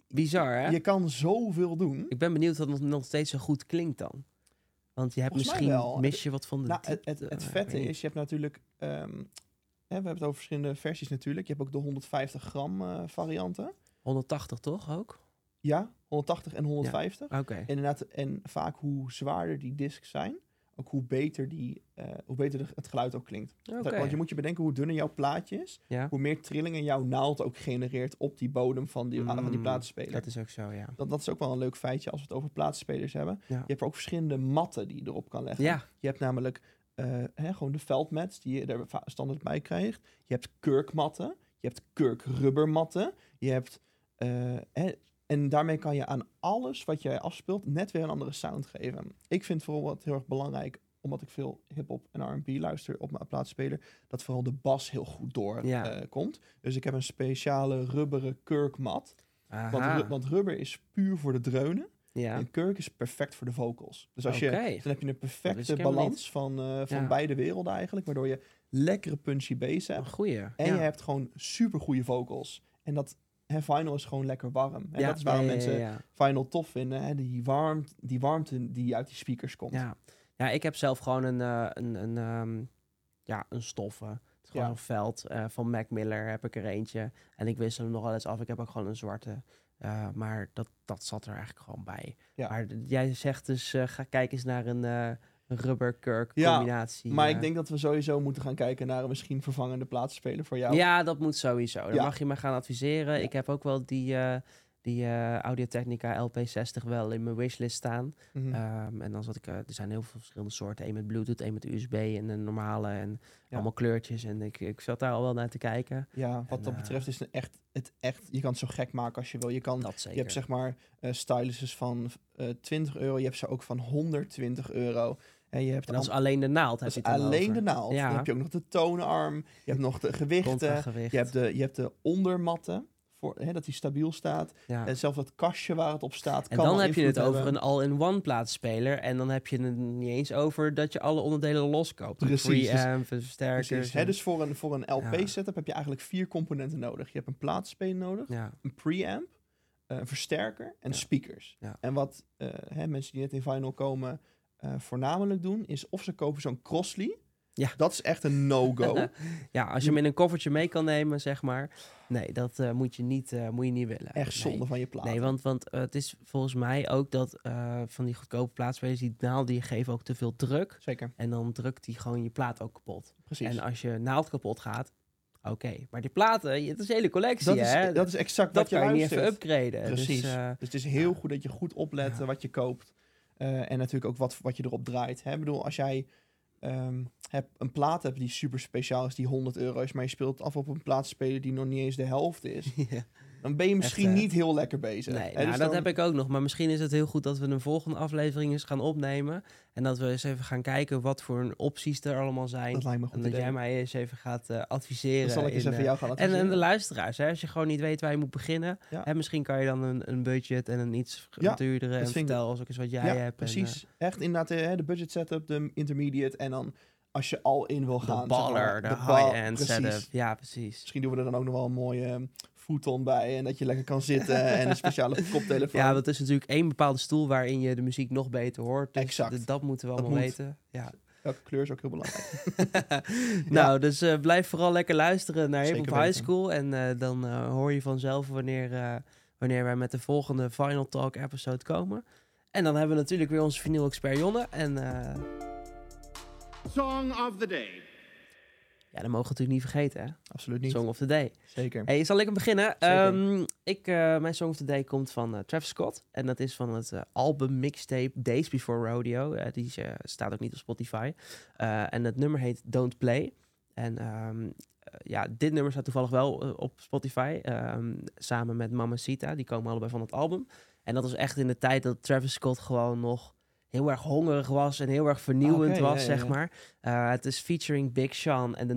[SPEAKER 5] Bizar, hè?
[SPEAKER 6] Je kan zoveel doen.
[SPEAKER 5] Ik ben benieuwd of het nog steeds zo goed klinkt dan. Want je hebt
[SPEAKER 6] Volgens mij
[SPEAKER 5] misschien,
[SPEAKER 6] wel.
[SPEAKER 5] mis je wat van de
[SPEAKER 6] Nou, het, het,
[SPEAKER 5] diepte,
[SPEAKER 6] het
[SPEAKER 5] maar
[SPEAKER 6] vette
[SPEAKER 5] eh, ik weet
[SPEAKER 6] is, je hebt natuurlijk... ehm, hè, we hebben het over verschillende versies natuurlijk. Je hebt ook de 150 gram eh, varianten.
[SPEAKER 5] niet. 180 toch ook?
[SPEAKER 6] Ja, 180 en 150.
[SPEAKER 5] Oké.
[SPEAKER 6] Inderdaad, en vaak hoe zwaarder die discs zijn, ook hoe beter, die, eh, hoe beter de- het geluid ook klinkt.
[SPEAKER 5] Oké.
[SPEAKER 6] Want je moet je bedenken, hoe dunner jouw plaatje is,
[SPEAKER 5] Ja.
[SPEAKER 6] hoe meer trillingen jouw naald ook genereert op die bodem van die, van die
[SPEAKER 5] Mm,
[SPEAKER 6] platenspeler.
[SPEAKER 5] Dat is ook zo, ja.
[SPEAKER 6] dat, dat is ook wel een leuk feitje als we het over plaatspelers hebben.
[SPEAKER 5] Ja.
[SPEAKER 6] Je hebt ook verschillende matten die je erop kan leggen.
[SPEAKER 5] Ja,
[SPEAKER 6] Je hebt namelijk eh, hè, gewoon de veldmats die je er va- standaard bij krijgt. Je hebt kurkmatten. Je hebt kurkrubbermatten. Je hebt... eh, hè, en daarmee kan je aan alles wat jij afspeelt net weer een andere sound geven. Ik vind vooral wat heel erg belangrijk, omdat ik veel hip-hop en RB luister op mijn plaatsspeler, dat vooral de bas heel goed
[SPEAKER 5] Ja.
[SPEAKER 6] doorkomt. dus ik heb een speciale rubberen kurkmat. Want,
[SPEAKER 5] Aha.
[SPEAKER 6] ru- want rubber is puur voor de dreunen.
[SPEAKER 5] ja.
[SPEAKER 6] En kurk is perfect voor de vocals. Dus als je
[SPEAKER 5] Oké.
[SPEAKER 6] dan heb je een
[SPEAKER 5] ik
[SPEAKER 6] perfecte
[SPEAKER 5] helemaal
[SPEAKER 6] balans van, eh, van
[SPEAKER 5] Ja.
[SPEAKER 6] beide werelden eigenlijk. Waardoor je lekkere punchy bass
[SPEAKER 5] Een
[SPEAKER 6] hebt.
[SPEAKER 5] goeie.
[SPEAKER 6] En
[SPEAKER 5] ja.
[SPEAKER 6] je hebt gewoon super goede vocals. En dat hè, vinyl is gewoon lekker warm. En
[SPEAKER 5] Ja,
[SPEAKER 6] dat is waarom
[SPEAKER 5] ja, ja,
[SPEAKER 6] mensen
[SPEAKER 5] ja,
[SPEAKER 6] vinyl tof vinden. Hè? Die, warmt, die warmte die uit die speakers komt.
[SPEAKER 5] ja. ja. Ja, ik heb zelf gewoon een, eh, een, een, ehm, ja, een stoffen. Het is gewoon
[SPEAKER 6] Ja.
[SPEAKER 5] een veld. eh, van Mac Miller heb ik er eentje. En ik wissel hem nog wel eens af. Ik heb ook gewoon een zwarte. Eh, maar dat, dat zat er eigenlijk gewoon bij.
[SPEAKER 6] Ja.
[SPEAKER 5] Maar d- jij zegt dus, eh, ga kijken eens naar een eh, rubber kurk
[SPEAKER 6] Ja,
[SPEAKER 5] combinatie.
[SPEAKER 6] Maar
[SPEAKER 5] eh.
[SPEAKER 6] ik denk dat we sowieso moeten gaan kijken naar een misschien vervangende plaatsspeler voor jou.
[SPEAKER 5] Ja, dat moet sowieso. Dan
[SPEAKER 6] Ja.
[SPEAKER 5] mag je me gaan adviseren. Ik heb ook wel die, eh die eh Audio-Technica LP60 wel in mijn wishlist staan.
[SPEAKER 6] Mhm.
[SPEAKER 5] Ehm, en dan zat ik, eh, er zijn heel veel verschillende soorten. Eén met Bluetooth, één met USB en een normale. En
[SPEAKER 6] Ja.
[SPEAKER 5] allemaal kleurtjes. En ik, ik zat daar al wel naar te kijken.
[SPEAKER 6] ja, wat
[SPEAKER 5] en,
[SPEAKER 6] dat
[SPEAKER 5] eh,
[SPEAKER 6] betreft is het echt, het echt... Je kan het zo gek maken als je wil. Je, kan,
[SPEAKER 5] Dat zeker.
[SPEAKER 6] je hebt zeg maar eh styluses van eh 20 euro. Je hebt ze ook van 120 euro. En je hebt
[SPEAKER 5] en dat is
[SPEAKER 6] al-
[SPEAKER 5] alleen de naald. heb
[SPEAKER 6] dat
[SPEAKER 5] je
[SPEAKER 6] is
[SPEAKER 5] het dan
[SPEAKER 6] alleen
[SPEAKER 5] over.
[SPEAKER 6] de naald.
[SPEAKER 5] Ja.
[SPEAKER 6] Dan heb je ook nog de toonarm. Je hebt nog de gewichten.
[SPEAKER 5] Contragewicht.
[SPEAKER 6] Je hebt de, je hebt de ondermatten. Voor, hè, dat die stabiel staat.
[SPEAKER 5] Ja.
[SPEAKER 6] En zelfs dat kastje waar het op staat.
[SPEAKER 5] En
[SPEAKER 6] kan
[SPEAKER 5] dan
[SPEAKER 6] al
[SPEAKER 5] heb je het
[SPEAKER 6] invloed
[SPEAKER 5] over
[SPEAKER 6] hebben.
[SPEAKER 5] een all-in-one plaatsspeler. En dan heb je het niet eens over dat je alle onderdelen loskoopt.
[SPEAKER 6] Precies, dus-
[SPEAKER 5] Preamp, versterkers.
[SPEAKER 6] Precies.
[SPEAKER 5] en-
[SPEAKER 6] Hè, dus voor een, voor een
[SPEAKER 5] Ja.
[SPEAKER 6] LP-setup heb je eigenlijk vier componenten nodig. Je hebt een plaatsspeler nodig,
[SPEAKER 5] ja.
[SPEAKER 6] een preamp, eh, een versterker en
[SPEAKER 5] Ja.
[SPEAKER 6] speakers.
[SPEAKER 5] Ja.
[SPEAKER 6] En wat eh, hè, mensen die net in Vinyl komen eh, voornamelijk doen, is of ze kopen zo'n Crossley.
[SPEAKER 5] Ja.
[SPEAKER 6] Dat is echt een no-go.
[SPEAKER 5] ja, als je hem in een koffertje mee kan nemen, zeg maar. Nee, dat eh, moet, je niet, eh, moet je niet willen.
[SPEAKER 6] echt
[SPEAKER 5] Nee.
[SPEAKER 6] zonde van je plaat.
[SPEAKER 5] Nee, want, want eh, het is volgens mij ook dat eh, van die goedkope plaatspelers, die naald, die geven ook te veel druk.
[SPEAKER 6] Zeker,
[SPEAKER 5] En dan drukt die gewoon je plaat ook kapot.
[SPEAKER 6] precies.
[SPEAKER 5] En als je naald kapot gaat, oké. Maar die platen, je- het is een hele collectie,
[SPEAKER 6] dat,
[SPEAKER 5] hè?
[SPEAKER 6] is, dat is exact
[SPEAKER 5] Dat
[SPEAKER 6] wat je
[SPEAKER 5] kan je niet
[SPEAKER 6] luistert.
[SPEAKER 5] even upgraden.
[SPEAKER 6] Precies.
[SPEAKER 5] Dus, eh,
[SPEAKER 6] Dus het is heel goed dat je goed oplet
[SPEAKER 5] Ja.
[SPEAKER 6] eh, wat je koopt. Eh, en natuurlijk ook wat, wat je erop draait. Hè? Ik bedoel, als jij ehm, heb, een plaat hebt die super speciaal is, die 100 euro is, maar je speelt af op een plaatspeler die nog niet eens de helft is,
[SPEAKER 5] ja.
[SPEAKER 6] dan ben je misschien
[SPEAKER 5] eh,
[SPEAKER 6] niet heel lekker bezig. dus
[SPEAKER 5] Nee, nou, dat heb ik ook nog. Maar misschien is het heel goed dat we een volgende aflevering eens gaan opnemen. En dat we eens even gaan kijken wat voor opties er allemaal zijn.
[SPEAKER 6] Dat lijkt me een
[SPEAKER 5] en
[SPEAKER 6] goed.
[SPEAKER 5] dat
[SPEAKER 6] idee.
[SPEAKER 5] jij mij eens even gaat eh, adviseren.
[SPEAKER 6] Dan zal ik eens
[SPEAKER 5] in,
[SPEAKER 6] even
[SPEAKER 5] eh,
[SPEAKER 6] jou gaan
[SPEAKER 5] En, en de
[SPEAKER 6] adviseren.
[SPEAKER 5] luisteraars, hè, als je gewoon niet weet waar je moet beginnen.
[SPEAKER 6] Ja.
[SPEAKER 5] Hè, misschien kan je dan een, een budget en een iets
[SPEAKER 6] Ja,
[SPEAKER 5] duurdere. En
[SPEAKER 6] vind ik-
[SPEAKER 5] vertel ons ook eens wat jij
[SPEAKER 6] ja,
[SPEAKER 5] hebt. En,
[SPEAKER 6] precies. Echt inderdaad, eh, hè, de budget setup, de intermediate en dan als je al in wil
[SPEAKER 5] eh,
[SPEAKER 6] gaan.
[SPEAKER 5] de
[SPEAKER 6] zeg maar,
[SPEAKER 5] baller, de,
[SPEAKER 6] bal-
[SPEAKER 5] high-end
[SPEAKER 6] precies.
[SPEAKER 5] setup. Ja, precies.
[SPEAKER 6] Misschien doen we er dan ook nog wel een mooie eh, futon bij en dat je lekker kan zitten en een speciale koptelefoon.
[SPEAKER 5] Ja, dat is natuurlijk één bepaalde stoel waarin je de muziek nog beter hoort. Dus
[SPEAKER 6] Exact.
[SPEAKER 5] d- dat moeten we
[SPEAKER 6] Dat
[SPEAKER 5] allemaal
[SPEAKER 6] moet.
[SPEAKER 5] weten. Ja.
[SPEAKER 6] Welke kleur is ook heel belangrijk.
[SPEAKER 5] Nou, dus eh, blijf vooral lekker luisteren naar Hip
[SPEAKER 6] Zeker
[SPEAKER 5] Hop High
[SPEAKER 6] weten.
[SPEAKER 5] School. En eh, dan eh, hoor je vanzelf wanneer, eh, wanneer wij met de volgende Final Talk episode komen. En dan hebben we natuurlijk weer onze vinyl expert Jonne. En eh,
[SPEAKER 1] Song of the day.
[SPEAKER 5] ja, dat mogen we natuurlijk niet vergeten, hè?
[SPEAKER 6] Absoluut niet.
[SPEAKER 5] Song of the Day.
[SPEAKER 6] Zeker.
[SPEAKER 5] Hey, zal ik hem beginnen?
[SPEAKER 6] Zeker.
[SPEAKER 5] Ehm, ik, eh, mijn Song of the Day komt van eh, Travis Scott. En dat is van het eh, album mixtape Days Before Rodeo. Eh, die is, eh, staat ook niet op Spotify. Eh, en het nummer heet Don't Play. En ehm, eh, ja, dit nummer staat toevallig wel eh, op Spotify. ehm, samen met Mamacita. Die komen allebei van het album. En dat was echt in de tijd dat Travis Scott gewoon nog heel erg hongerig was en heel erg vernieuwend
[SPEAKER 6] Ah, Oké,
[SPEAKER 5] was,
[SPEAKER 6] ja, ja,
[SPEAKER 5] zeg
[SPEAKER 6] ja.
[SPEAKER 5] maar. Eh, het is featuring Big Sean en de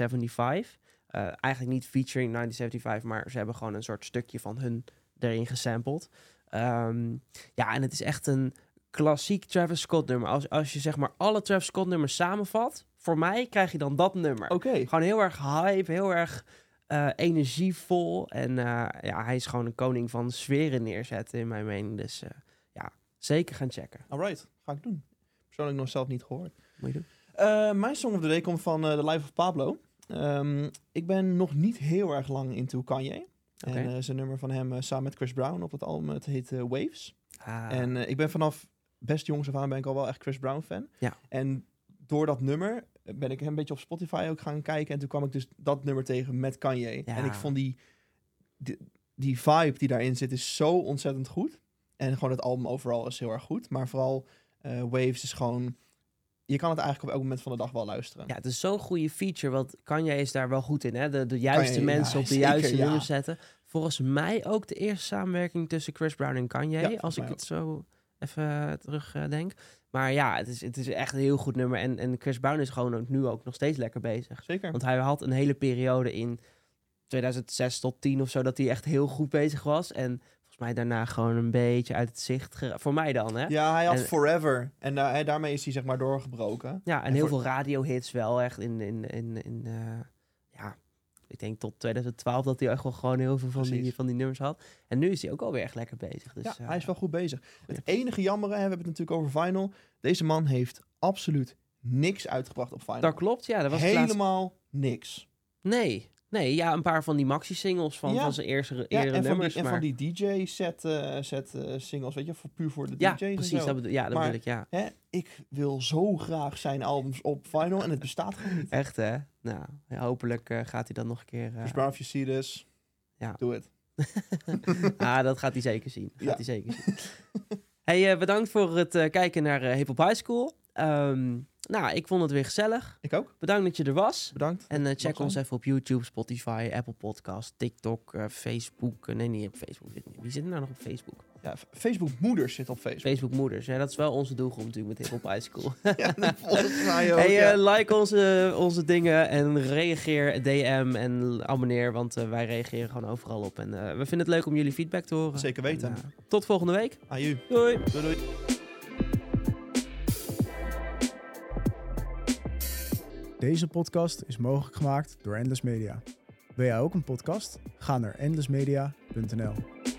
[SPEAKER 5] 1975. Eh, eigenlijk niet featuring 1975, maar ze hebben gewoon een soort stukje van hun erin gesampled. Ehm, ja, en het is echt een klassiek Travis Scott nummer. Als, als je zeg maar alle Travis Scott nummers samenvat, voor mij krijg je dan dat nummer.
[SPEAKER 6] Oké.
[SPEAKER 5] Gewoon heel erg hype, heel erg eh, energievol. En eh, ja, hij is gewoon een koning van sferen neerzetten, in mijn mening. Dus eh, ja, zeker gaan checken.
[SPEAKER 6] Alright, ga ik doen. Persoonlijk nog zelf niet gehoord.
[SPEAKER 5] Moet je doen.
[SPEAKER 6] Eh, mijn Song of the Day komt van eh, The Life of Pablo. Ehm, ik ben nog niet heel erg lang into Kanye.
[SPEAKER 5] Oké.
[SPEAKER 6] En eh, zijn nummer van hem eh, samen met Chris Brown op het album, het heet eh, Waves.
[SPEAKER 5] Ah,
[SPEAKER 6] En eh, ik ben vanaf best jongs af aan ben ik al wel echt Chris Brown fan.
[SPEAKER 5] Ja.
[SPEAKER 6] En door dat nummer eh, ben ik een beetje op Spotify ook gaan kijken. En toen kwam ik dus dat nummer tegen met Kanye.
[SPEAKER 5] Ja.
[SPEAKER 6] En ik vond die, die, die vibe die daarin zit is zo ontzettend goed. En gewoon het album overal is heel erg goed. Maar vooral eh, Waves is gewoon... Je kan het eigenlijk op elk moment van de dag wel luisteren.
[SPEAKER 5] Ja, het is zo'n goede feature, want Kanye is daar wel goed in. Hè? De, de juiste
[SPEAKER 6] Kanye,
[SPEAKER 5] mensen
[SPEAKER 6] ja,
[SPEAKER 5] op de
[SPEAKER 6] zeker,
[SPEAKER 5] juiste
[SPEAKER 6] ja.
[SPEAKER 5] nummers zetten. Volgens mij ook de eerste samenwerking tussen Chris Brown en Kanye,
[SPEAKER 6] volgens
[SPEAKER 5] als ik
[SPEAKER 6] mij
[SPEAKER 5] het zo even eh, terugdenk. maar ja, het is, het is echt een heel goed nummer. En, en Chris Brown is gewoon ook, nu ook nog steeds lekker bezig.
[SPEAKER 6] Zeker.
[SPEAKER 5] Want hij had een hele periode in 2006 tot 10 of zo dat hij echt heel goed bezig was. En volgens volgens mij daarna gewoon een beetje uit het zicht. gera- Voor mij dan, hè?
[SPEAKER 6] Ja, hij had
[SPEAKER 5] En-
[SPEAKER 6] Forever. En daar- hè, daarmee is hij zeg maar doorgebroken.
[SPEAKER 5] Ja, en,
[SPEAKER 6] En
[SPEAKER 5] heel
[SPEAKER 6] voor-
[SPEAKER 5] veel radiohits wel echt in, in, in, in eh, ja, ik denk tot 2012 dat hij echt wel gewoon heel veel van, die,
[SPEAKER 6] Precies.
[SPEAKER 5] van die nummers had. En nu is hij ook alweer echt lekker bezig. Dus,
[SPEAKER 6] ja,
[SPEAKER 5] eh,
[SPEAKER 6] hij is wel goed bezig. Het enige jammere, hè, we hebben het natuurlijk over Vinyl. Deze man heeft absoluut niks uitgebracht op Vinyl.
[SPEAKER 5] Dat klopt, ja. Dat was het laatste-
[SPEAKER 6] Helemaal niks.
[SPEAKER 5] Nee, nee, ja, een paar van die maxi-singles van,
[SPEAKER 6] Ja.
[SPEAKER 5] van zijn eerste
[SPEAKER 6] Ja,
[SPEAKER 5] eerdere
[SPEAKER 6] en, van
[SPEAKER 5] nummers.
[SPEAKER 6] die, en
[SPEAKER 5] maar...
[SPEAKER 6] van die DJ-set set, eh, singles, weet je, voor, puur voor de
[SPEAKER 5] ja,
[SPEAKER 6] DJ's en
[SPEAKER 5] precies.
[SPEAKER 6] zo.
[SPEAKER 5] Dat bedoel, ja, dat
[SPEAKER 6] Maar-
[SPEAKER 5] bedoel ik, ja.
[SPEAKER 6] Hè, ik wil zo graag zijn albums op vinyl en het bestaat gewoon niet.
[SPEAKER 5] Echt, hè? Nou, ja, hopelijk eh, gaat hij dat nog een keer... eh,
[SPEAKER 6] Dus Brown, if you see this,
[SPEAKER 5] Ja.
[SPEAKER 6] doe het.
[SPEAKER 5] ah, dat gaat hij zeker zien. Gaat
[SPEAKER 6] Ja.
[SPEAKER 5] hij zeker zien. hey, eh, bedankt voor het eh, kijken naar eh Hip Hop High School. Ehm, nou, ik vond het weer gezellig.
[SPEAKER 6] Ik ook,
[SPEAKER 5] Bedankt dat je er was.
[SPEAKER 6] bedankt.
[SPEAKER 5] En eh, check
[SPEAKER 6] zijn.
[SPEAKER 5] ons even op YouTube, Spotify, Apple Podcast, TikTok, eh, Facebook. Eh, Nee, niet op Facebook. Wie zit er nou nog op Facebook?
[SPEAKER 6] Ja, Facebook Moeders zit op Facebook.
[SPEAKER 5] Facebook Moeders. Hè? Dat is wel onze doelgroep natuurlijk met Hip Hop High School.
[SPEAKER 6] Volgens mij ook,
[SPEAKER 5] hey,
[SPEAKER 6] ja.
[SPEAKER 5] eh, like onze, onze dingen en reageer, DM en abonneer. Want eh, wij reageren gewoon overal op. En eh, we vinden het leuk om jullie feedback te horen.
[SPEAKER 6] Zeker weten.
[SPEAKER 5] En, eh, tot volgende week.
[SPEAKER 6] Aan jullie.
[SPEAKER 5] Doei!
[SPEAKER 6] Doei doei.
[SPEAKER 7] Deze podcast is mogelijk gemaakt door Endless Media. Wil jij ook een podcast? Ga naar endlessmedia.nl